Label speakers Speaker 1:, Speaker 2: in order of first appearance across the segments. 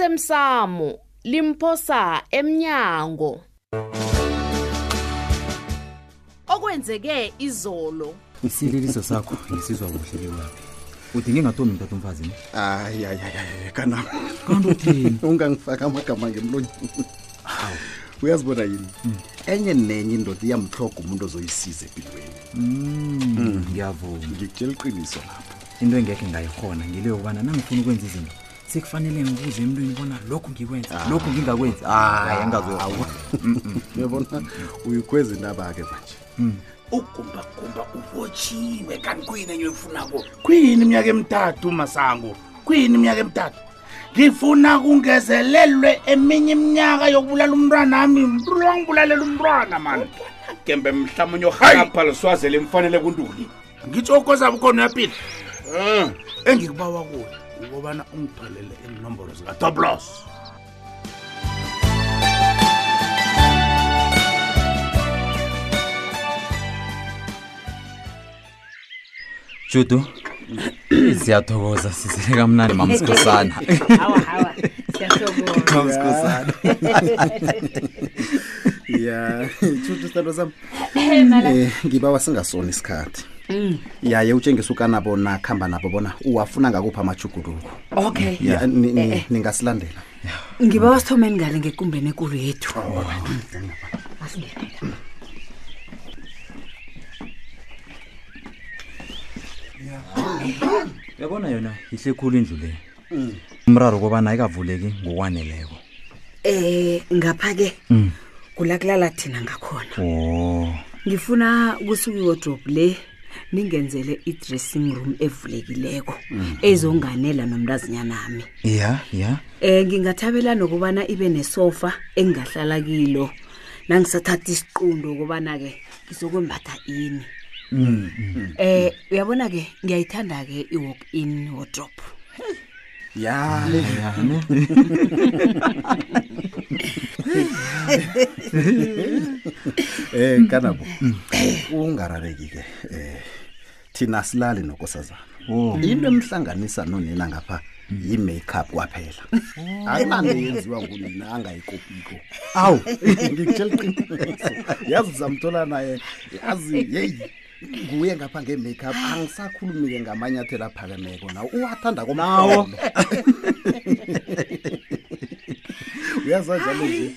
Speaker 1: osemsamo limphosa emnyango okwenzeke izolo
Speaker 2: isililiso sakho ngisizwa kuhle liwapi uthi ngingatombi mtata umfazi ne?
Speaker 3: hayi hayi hayi, hayi kana
Speaker 2: kanti uthini
Speaker 3: ungangifaka amagama ngemlonyeni uyazibona yini enye nenye indoda iyamhloga umuntu ozoyisiza empilweni
Speaker 2: Mm, ngiyavuma
Speaker 3: ngikutshela iqiniso lapho
Speaker 2: into engekhe ngayikhona ngile yokubana nangifuna ukwenza izinto sekufanele ngibuze emntwini bona lokhu ngikwenza
Speaker 4: Ah.
Speaker 2: lokhu ngingakwenzi hayi angazoawu
Speaker 3: uyabona uyikhweza indaba-ke manje
Speaker 5: ugumbagumba ubotshiwe kanti kuyini enye uyifunako kuyini iminyaka emithathu masango kuyini iminyaka emithathu ngifuna kungezelelwe eminye iminyaka yokubulala umntwana ami ngibulalela umntwana mani gembe mhlamunye ohalapha liswazele mfanele kuntuli ngitsho ukoza bukhona uyapila engikubawa kuwe ukobana ungitholele inombolo zikatoblos
Speaker 2: judu siyathokoza sizele kamnandi mamsikhosana
Speaker 4: hawa hawa siyathokoza
Speaker 2: mamsikhosana
Speaker 3: ya tshutsho isitando sami
Speaker 4: Mala-
Speaker 3: um ngibawa singasona isikhathi yaye utshengisa ukanabo nakuhamba nabo bona uwafuna ngakuphi amajuguluko
Speaker 4: okay
Speaker 3: Ya, ni- ni- ningasilandela
Speaker 4: ngiba wasithomeni ngale ngekumbeni ekulu yethu
Speaker 2: uyabona yona yihle khulu indlu leyo
Speaker 4: Mm.
Speaker 2: umraro kobana ayikavuleki ngokwaneleko
Speaker 4: eh ngapha-ke kulakulala thina ngakhona
Speaker 2: o
Speaker 4: ngifuna kusuka iwodrobe le ningenzele i-dressing room evulekileko ezonganela nomntazinyanami
Speaker 2: ya ya
Speaker 4: um ngingathabela nokubana ibe nesofa engingahlala kilo nangisathatha isiqundo ukubana-ke ngizokwembatha ini um uyabona-ke ngiyayithanda-ke i-walk in wardrobe Ah.
Speaker 3: ya um kanabo ungarareki-ke um thina silali nokosazana
Speaker 2: o
Speaker 3: into emhlanganisa nonina ngapha yi-makeup kwaphela akunanto yenziwa ngunina angayikopiko awu ngikutshela iqiniso yazi zamthola naye yazi yeyi nguye ngapha nge-makeup angisakhulumi-ke ngamanyathelo aphakameko nawo uwathanda komnawo uyaza njalo nje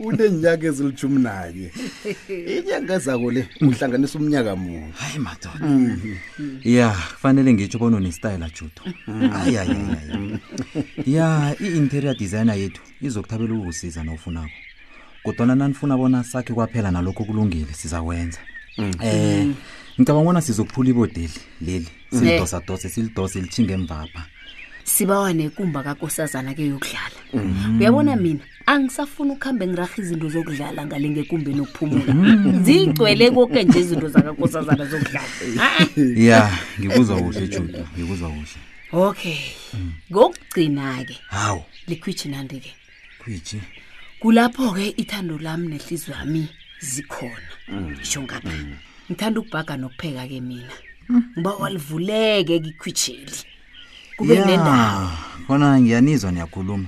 Speaker 3: uneenyaka ezilithumi nanye inyanga ezako le uhlanganisa umnyaka munye
Speaker 2: hayi madoda ya kufanele ngitsho bona unesitayela judo ayiayiayi ya i-interior designer yethu izokuthabela ukukusiza nawufunako kodwana nanifuna bona sakhe kwaphela nalokho kulungile sizakwenza um ngicabanga bona sizokuphula ibodeli leli silidosadose silidose litshinge emvapha
Speaker 6: sibawa nekumba kakosazana ke yokudlala uyabona mina angisafuna ukuhambe ngiraha izinto zokudlala ngale ngekumbeni okuphumula zigcwele koke nje izinto zakakosazana zokudlala Ah,
Speaker 2: Mm. ya ngikuzwa kuhle judo ngikuzwa kuhle
Speaker 6: okay ngokugcina-ke
Speaker 2: hawu
Speaker 6: likhwitshinandi-ke
Speaker 2: khwitshi
Speaker 6: kulapho-ke ithando lami nehliziyo yami zikhona ngisho ngapha ngithanda ukubhaga nokupheka-ke mina ngiba walivuleke kikhwitsheli kube
Speaker 2: Ya,
Speaker 6: nendawo
Speaker 2: khona ngiyanizwa niyakhuluma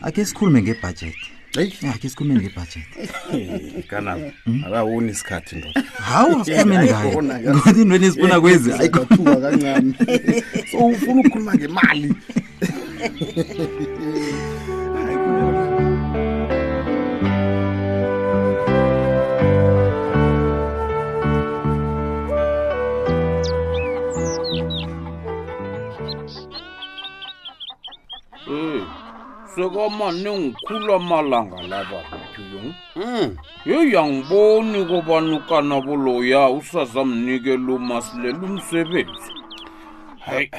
Speaker 2: akhe sikhulume ngebhajethi
Speaker 3: eyi
Speaker 2: ya akhe Ah, sikhulume ngebhajethi
Speaker 3: kanabo Eh, akawoni isikhathi ndoda
Speaker 2: hawu asikhulumeni ngayo
Speaker 3: Yabona, yabona.
Speaker 2: ngoba intweni ezifuna kwezi hayi,
Speaker 3: ayikathuka kancane so ufuna ukukhuluma ngemali
Speaker 7: sekamaningikhula malanga laba bethu yeyi angiboni kobanukana buloya usazamnikela umasilela umsebenzi hayi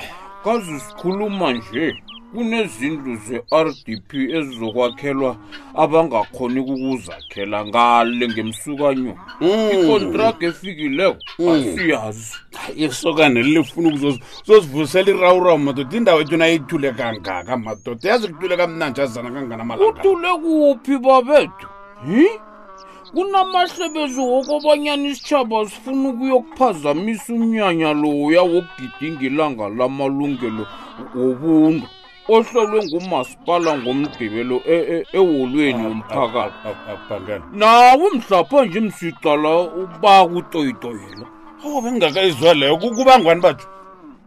Speaker 7: kazi sikhuluma nje kunezindlu ze-r d p ezizokwakhelwa abangakhoni ukukuzakhela ngale ngemsukanyoni
Speaker 8: Hmm.
Speaker 7: ikontrakt efikileko asiyazi
Speaker 5: isokane lifuna ukuzozivusela irawurawu madoda indawo ethu nayithule kangaka madoda yazi kuthule kamnanje azana kangana malanga
Speaker 7: uthule kuphi babethu hi kunamahlebezi wokobanyana isitshaba sifuna ukuyokuphazamisa umnyanya loya wokugidinga ilanga lamalungelo wobuntu ohlolwe ngumasipala ngomgqibelo e- e- eholweni womphakathi
Speaker 8: abhangana
Speaker 7: nawe mhlapha nje msicala uba kutoyitoyela
Speaker 8: awu bengingakayizwa leyo Ku- kubangwani batsho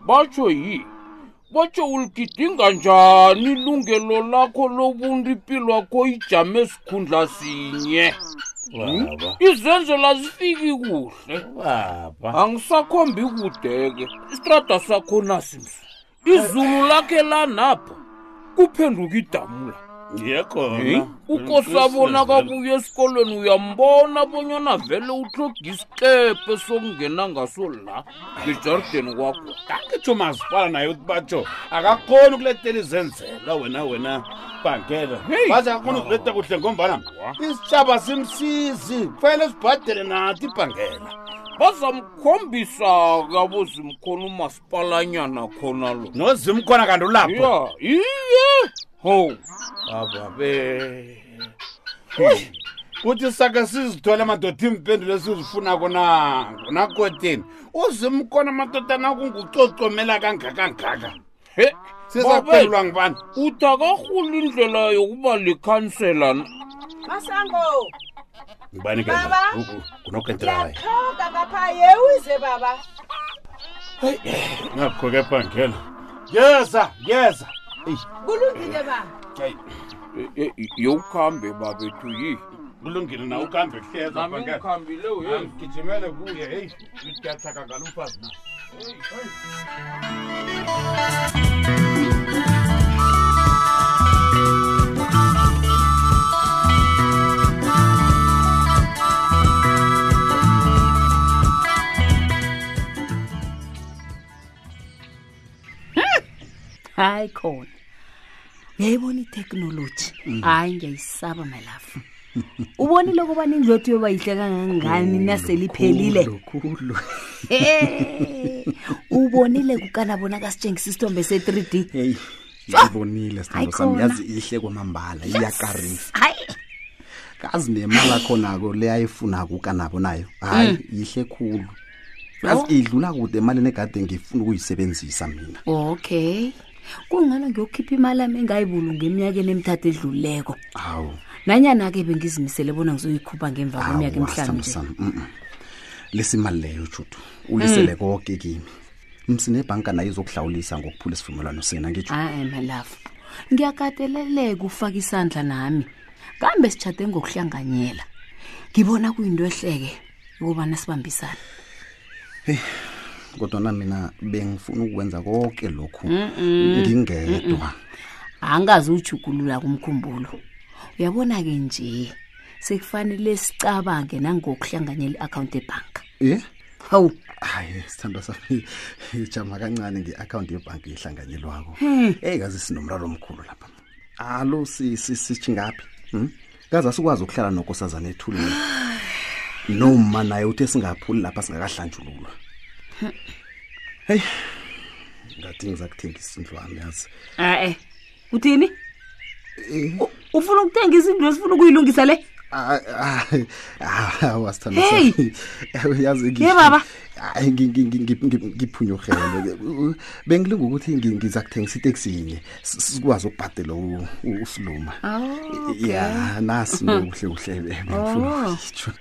Speaker 7: batsho yi batsho uligidinga njani ilungelo lakho lobuntu impilo yakho ijame esikhundla sinye Hmm?
Speaker 8: baba
Speaker 7: izenzo lazifiki kuhle
Speaker 8: baba
Speaker 7: angisakhombi kude-ke isitrada sakho nasimso izulu lakhe lanapha kuphenduka idamula
Speaker 8: ngiyekhona
Speaker 7: ukosabona kabuya esikolweni uyambona bonyana vele utloga isikephe sokungena ngaso la ngejarideni kwakho
Speaker 8: angitsho masipala naye uthi batsho akakhoni ukuletela izenzela wena wena Oh. bhangela
Speaker 7: Hey.
Speaker 8: baze akakhoni ukuziletha kuhle ngombana isitshaba simsizi kufanele sibhadele nathi ibhangela
Speaker 7: bazamkhombisa kabozimkhona umasipalanyana khona lo
Speaker 8: nozimkhona kanti ulapho
Speaker 7: ya iye ho
Speaker 8: ababe kuthi sake sizithole madoda impendulo esizifunako na nakoteni uzimkhona madoda nakungucocomela kangakangaka
Speaker 7: he babethu,
Speaker 8: sizaphendulwa ngubani
Speaker 7: uthi akarhula indlela yokuba likhansela na
Speaker 9: masango
Speaker 8: ngubani ke
Speaker 9: Baba.
Speaker 8: kunokentelayo
Speaker 9: ndiyathoka ngapha yewuze baba
Speaker 8: ngakho ke bhangela yeza yeza eyi
Speaker 9: kulungile baba
Speaker 8: hayi
Speaker 7: yowukhambe e, babethu yi
Speaker 8: kulungile na ukuhambe kuhleza
Speaker 7: nami
Speaker 8: bhangela
Speaker 7: ngikhambile uye
Speaker 8: gijimele kuye heyi ndiyathaka ngalo mfazi na
Speaker 6: hayi khona uyayibona itheknoloji hayi ngiyayisaba malafu ubonile ukubana indlu yethu yoba yihle kangangani nasele iphelile Hey, ubonile kukana bona kasitshengisa isithombe se-three d
Speaker 3: heyi ngibonile sithando sami
Speaker 6: Hayikhona.
Speaker 3: yazi ihle kwamambala iyakarisa
Speaker 6: hayi
Speaker 3: kazi nemali akhonako leyayifunako ukanabo nayo hayi yihle khulu yazi idlula kude emalini egade ngifuna ukuyisebenzisa mina
Speaker 6: okay kungana ngiyokhipha imali ami engayibulunga eminyakeni emithathu edluleko
Speaker 3: hawu
Speaker 6: nanyana-ke bengizimisele bona ngizoyikhupha ngemva kweminyaka
Speaker 3: ah, sithando
Speaker 6: emhlanje
Speaker 3: sami mm, mm. lesi mali leyo judu uyisele konke kimi msinebhanka nayo izokuhlawulisa ngokuphula isivumelwano sena ngitsho
Speaker 6: ayi malafu ngiyakateleleka ufaka isandla nami kambe sitshade ngokuhlanganyela ngibona kuyinto ehleke ukubana sibambisane
Speaker 3: kodwana mina bengifuna ukwenza konke lokhu ngingedwa
Speaker 6: angazi ujugulula kumkhumbulo uyabona-ke nje sekufanele sicabange nangokuhlanganyela i-akhawunti ebhanka
Speaker 3: ye
Speaker 6: hawu
Speaker 3: hayi sithandwa sami ijama kancane nge-akhawunti yebhanki ehlanganyelwako eyi kazi sinomraro omkhulu lapha alo si- si- sitshi ngaphi hmm? kazi asikwazi ukuhlala nokosazana ethulini noma naye uthe singaphuli lapha singakahlanjululwa heyi ngathi ngiza kuthengisa indlu wami yazi
Speaker 6: a-e uthini U- ufuna ukuthengisa into esifuna ukuyilungisa le Hey!
Speaker 3: wasithandayazi
Speaker 6: Ye, baba.
Speaker 3: ngiphunyurhele bengilinga ukuthi ngi- ngiza kuthengisa iteksi yinye s- sikwazi ukubhadela u- u- usiluma ya nasi nje kuhle kuhle bengifuna ukuyitsho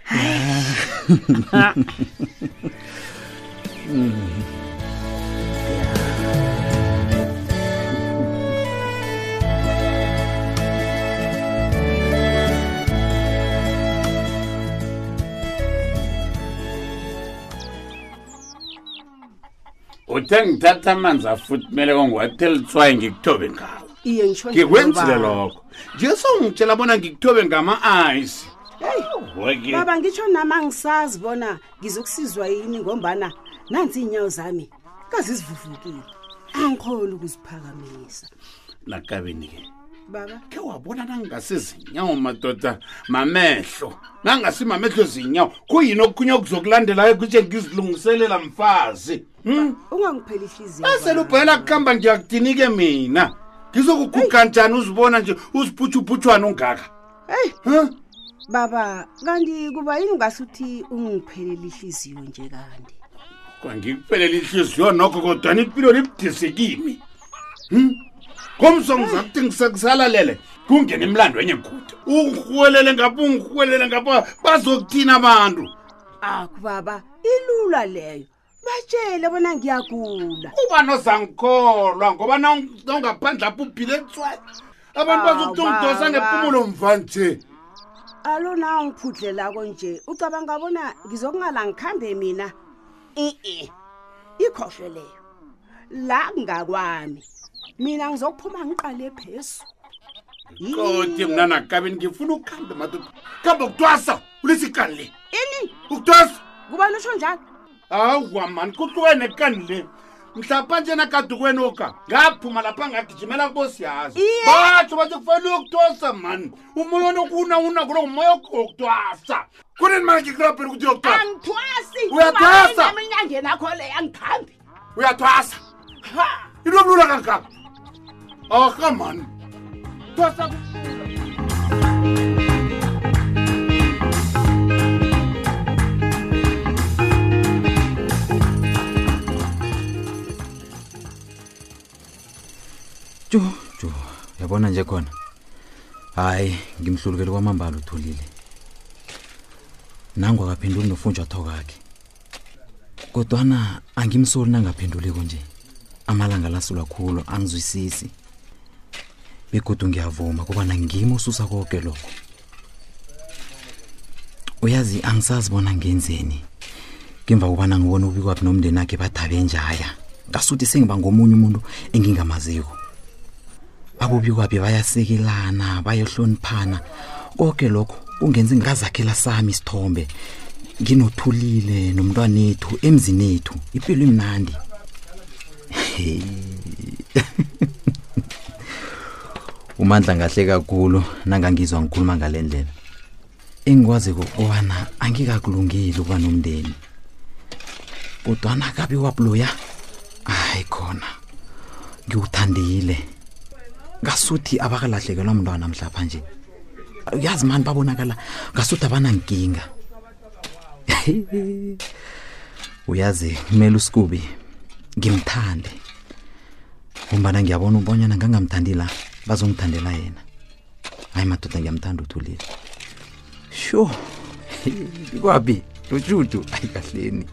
Speaker 8: uthe ngithatha amanzi afuthumeleko ngiwathelitswaye ngikuthobe ngawo
Speaker 4: iye ngitsho
Speaker 8: ngikwenzile lokho nje songitshela bona ngikuthobe ngama-ayisi oke
Speaker 4: baba ngitsho nami angisazi bona ngizokusizwa yini ngombana nansi iy'nyawo zami kazizivuvukile angikhoni ukuziphakamisa
Speaker 8: nakabeni-ke
Speaker 4: baba
Speaker 8: khe wabona nangingasizinyawo madoda mamehlo nangasimamehlo zinyawo kuyini okunye okuzokulandelayo kutshe ngizilungiselela mfazi Hmm?
Speaker 4: ungangipheli ihliziyo
Speaker 8: asele ubhayela kuhamba ngiyakudini-ke mina ngizokuguga njani uzibona nje uziphuthuphuthwana ungaka
Speaker 4: heyi
Speaker 8: Huh?
Speaker 4: baba kanti kuba yini ungasuthi ungipheleli ihliziyo nje kanti
Speaker 8: kwangikuphelela ihliziyo nokho kodwana impilo libudise kimi Hmm? ngomso ngiza kuthi ngisekusalalele kungena imlando enye ngude ungirhuwelele ngapha ungirhuwelele ngapha bazokuthina abantu
Speaker 4: akubaba Ah, ilula leyo batshele bona ngiyagula
Speaker 8: kuba nozangikholwa ngoba nawungaphandle apho ubhile tswayi abantu bazokuthi ungidosa ngempumulo mva nje
Speaker 4: alo na ungiphudlelako nje ucabanga bona ngizokungala ngikhambe mina i-e ikhohlwe leyo la kungakwami mina ngizokuphuma ngiqale phezu
Speaker 8: koti mna nakabini ngifuna ukuhambe madoda kambe ukutwasa ulesikani le ini ukutwasa
Speaker 4: kubani usho njalo
Speaker 8: awa mani kuhluke nekani le mhlapha nje nakadukweni oka ngaphuma lapha ngagijimela kosiyazi
Speaker 4: Iye.
Speaker 8: batsho batsho kufanele uyokutwasa mani umoya nokuuna una kulo ngumoya wokutwasa kunini manje ngikurabhela ukuthi uyokutwasa
Speaker 9: angithwasi
Speaker 8: Uyathwasa.
Speaker 9: eminyangeni akho leyo angikhambi
Speaker 8: uyathwasa into mlula kangaka arha mani thwasa
Speaker 2: jo jo yabona nje khona hayi ngimhlulukele kwamambala utholile nangu akaphenduli nofunjathoko akhe kodwana angimsoli nangaphenduliko nje amalanga lasulwa khulu angizwisisi begodu ngiyavuma kobana ngimi osusa koke lokho uyazi angisazi bona ngenzeni ngemva kobana ngibona ubikwaphi nomndeni akhe bathabe njaya ngasuthi sengiba ngomunye umuntu engingamaziko abobikwabi bayasekelana bayahloniphana konke lokho kungenze ngazakhela sami isithombe nginothulile nomntwanethu emzini ethu impilo imnandi Hey. umandla ngahle kakhulu nangangizwa ngikhuluma ngale ndlela engikwazi kokobana angikakulungeli ukuba nomndeni kodwana kabi wabloya hayi khona ngiwuthandile ngasuthi abakalahlekelwa mntwana mhlapha nje uyazi mani babonakala ngasuthi abanankinga uyazi kumele usikubi ngimthande ngombana ngiyabona ubonyana ngangamthandi la bazongithandela yena hayi madoda ngiyamthanda uthulile sho kwabi lotshutu ayi kahleni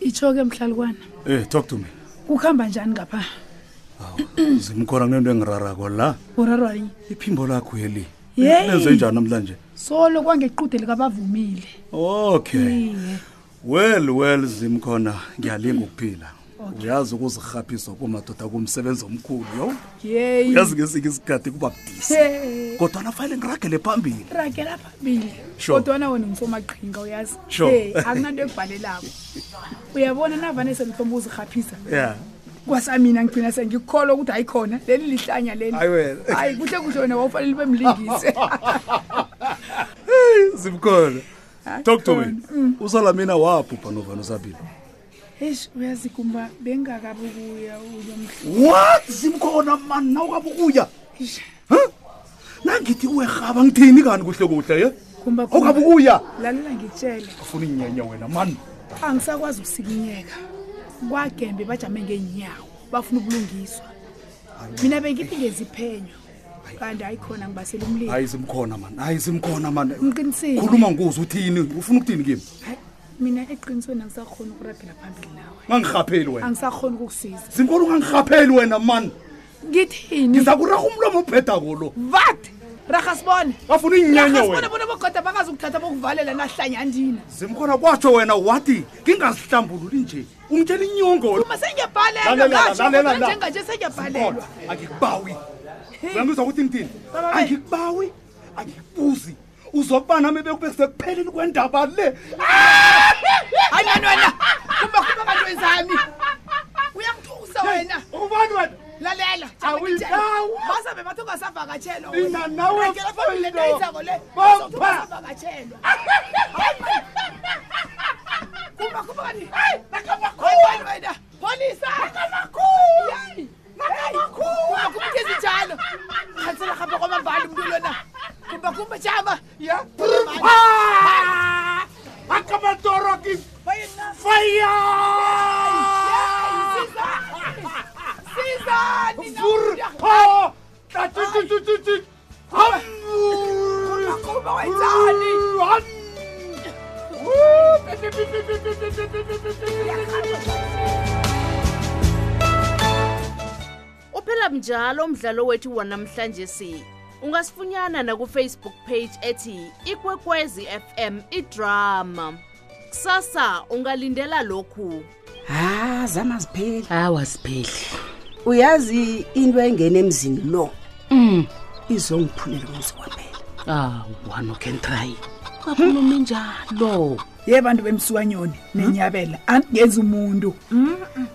Speaker 10: itsho-ke mhlalukwana
Speaker 3: Eh talk to me.
Speaker 10: kukuhamba njani ngapha
Speaker 3: Zimkhona kunento engirarako la.
Speaker 10: urarwa yini
Speaker 3: Iphimbo lakho eli.
Speaker 10: Yeyi.
Speaker 3: Lenze njani namhlanje?
Speaker 10: solo kwangequde likabavumile
Speaker 3: Okay.
Speaker 10: iye
Speaker 3: Well well Zimkhona ngiyalinga ukuphila. Uyazi ukuzirhaphisa kumadoda kumsebenzi omkhulu yo.
Speaker 10: yeyi
Speaker 3: Uyazi ngesinye isikhathi kuba budisi.
Speaker 10: Hey,
Speaker 3: Kodwa nafanele ngiragele phambili.
Speaker 10: rakela phambili
Speaker 3: Sure.
Speaker 10: kodwana wena ngifomaqhinga uyazi
Speaker 3: Sure.
Speaker 10: Hey, akunanto ekubhalelako uyabona navane sengihlomba uzirhaphisa
Speaker 3: Yeah.
Speaker 10: kwasamina ngigcina sengikukholwa ukuthi hayi khona leli lihlanya leli
Speaker 3: Hayi wena.
Speaker 10: hayi kuhle kuhle wena wawufanele ube mlingisi
Speaker 3: Zimkhona.
Speaker 10: Hayi,
Speaker 3: Talk to
Speaker 10: khona. Mm.
Speaker 3: me. Usalamina wabhubha novana usabili.
Speaker 10: eish uyazi kumba bengingakabi ukuya ulomhla
Speaker 3: what zimkhona mani na ukabe ukuya Huh? nangithi uwerhaba ngithini kani kuhle kuhle ye
Speaker 10: kumba
Speaker 3: awukabe ukuya
Speaker 10: lalela ngitshele
Speaker 3: afuna inyenya wena mani
Speaker 10: angisakwazi ukusikinyeka kwagembe bajame ngeenyawo bafuna ukulungiswa mina bengithi ngeziphenyo kanti hayi khona ngibasela umlilo
Speaker 3: hayi zimkhona mani hayi zimkhona mani
Speaker 10: Ngiqinisile.
Speaker 3: khuluma ngoze uthini ufuna ukuthini kimi
Speaker 10: Hayi, mina eqinisweni angisakhona ukuragela phambili nawe
Speaker 3: ungangihapheli wena
Speaker 10: angisakhoni ukukusiza
Speaker 3: zimkhona ungangihapheli wena mani
Speaker 10: ngithini
Speaker 3: ngiza kuraha umlomo ubhedako lo
Speaker 10: vat rahasibone
Speaker 3: afuna inyenya
Speaker 10: rahasibone
Speaker 3: wena
Speaker 10: bona bogoda bakazi ukuthatha bokuvalela nahlanyandina
Speaker 3: zimkhona kwatsho wena wathi ngingazihlambululi nje ungitshela inyongo
Speaker 10: uma
Speaker 3: Lalela,
Speaker 10: sengiyabhalelwa
Speaker 3: lalela, la.
Speaker 10: njenganje
Speaker 3: Zimkhona,
Speaker 10: sengiyabhalelwa
Speaker 3: angikubawi
Speaker 10: Hey.
Speaker 3: uyangizwa ukuthi ngithini
Speaker 10: Baba, hey.
Speaker 3: angikubawi angikubuzi uzokuba nami bekube sekupheleni kwendaba le
Speaker 10: hayi mani wena kumba kumba kanto wezami uyangithusa wena
Speaker 3: ubani wena
Speaker 10: lalela
Speaker 8: Awuyidlawa.
Speaker 10: bazabe bathi ungasavakatshelwa
Speaker 8: Mina nawe Mfowethu.
Speaker 10: phambiletoyizako le
Speaker 8: Bopha.
Speaker 10: bazothi ungasavakatshelwa kumba kumbani wena polisa
Speaker 9: kumthiza njalo khansela gapa kwamambali mntu lona kumba kumba jama ya
Speaker 8: akamatoroki faya furpho tatitititi
Speaker 1: uphela mnjalo umdlalo wethu wanamhlanje si ungasifunyana nakufacebook page ethi ikwekwezi fm idrama kusasa ungalindela lokhu
Speaker 4: ha zama zipheli
Speaker 6: hawa zipheli
Speaker 4: uyazi into engena emzini lo
Speaker 6: um
Speaker 4: izongiphulela umuzi kwaphela
Speaker 6: awa nokentry kakhuluma njalo
Speaker 10: ye bantu bemsukwanyoni nenyabela angezi umuntu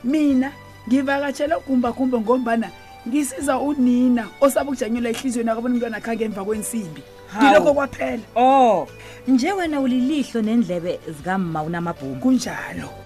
Speaker 10: mina ngivakatshele kumbakumba ngombana ngisiza unina osabe ukujanyelwa ehliziyweni akabona umntwana akhange emva kwensimbi ngiloko kwaphela
Speaker 11: oh nje wena ulilihlo nendlebe zikamma unamabhumbu
Speaker 10: kunjalo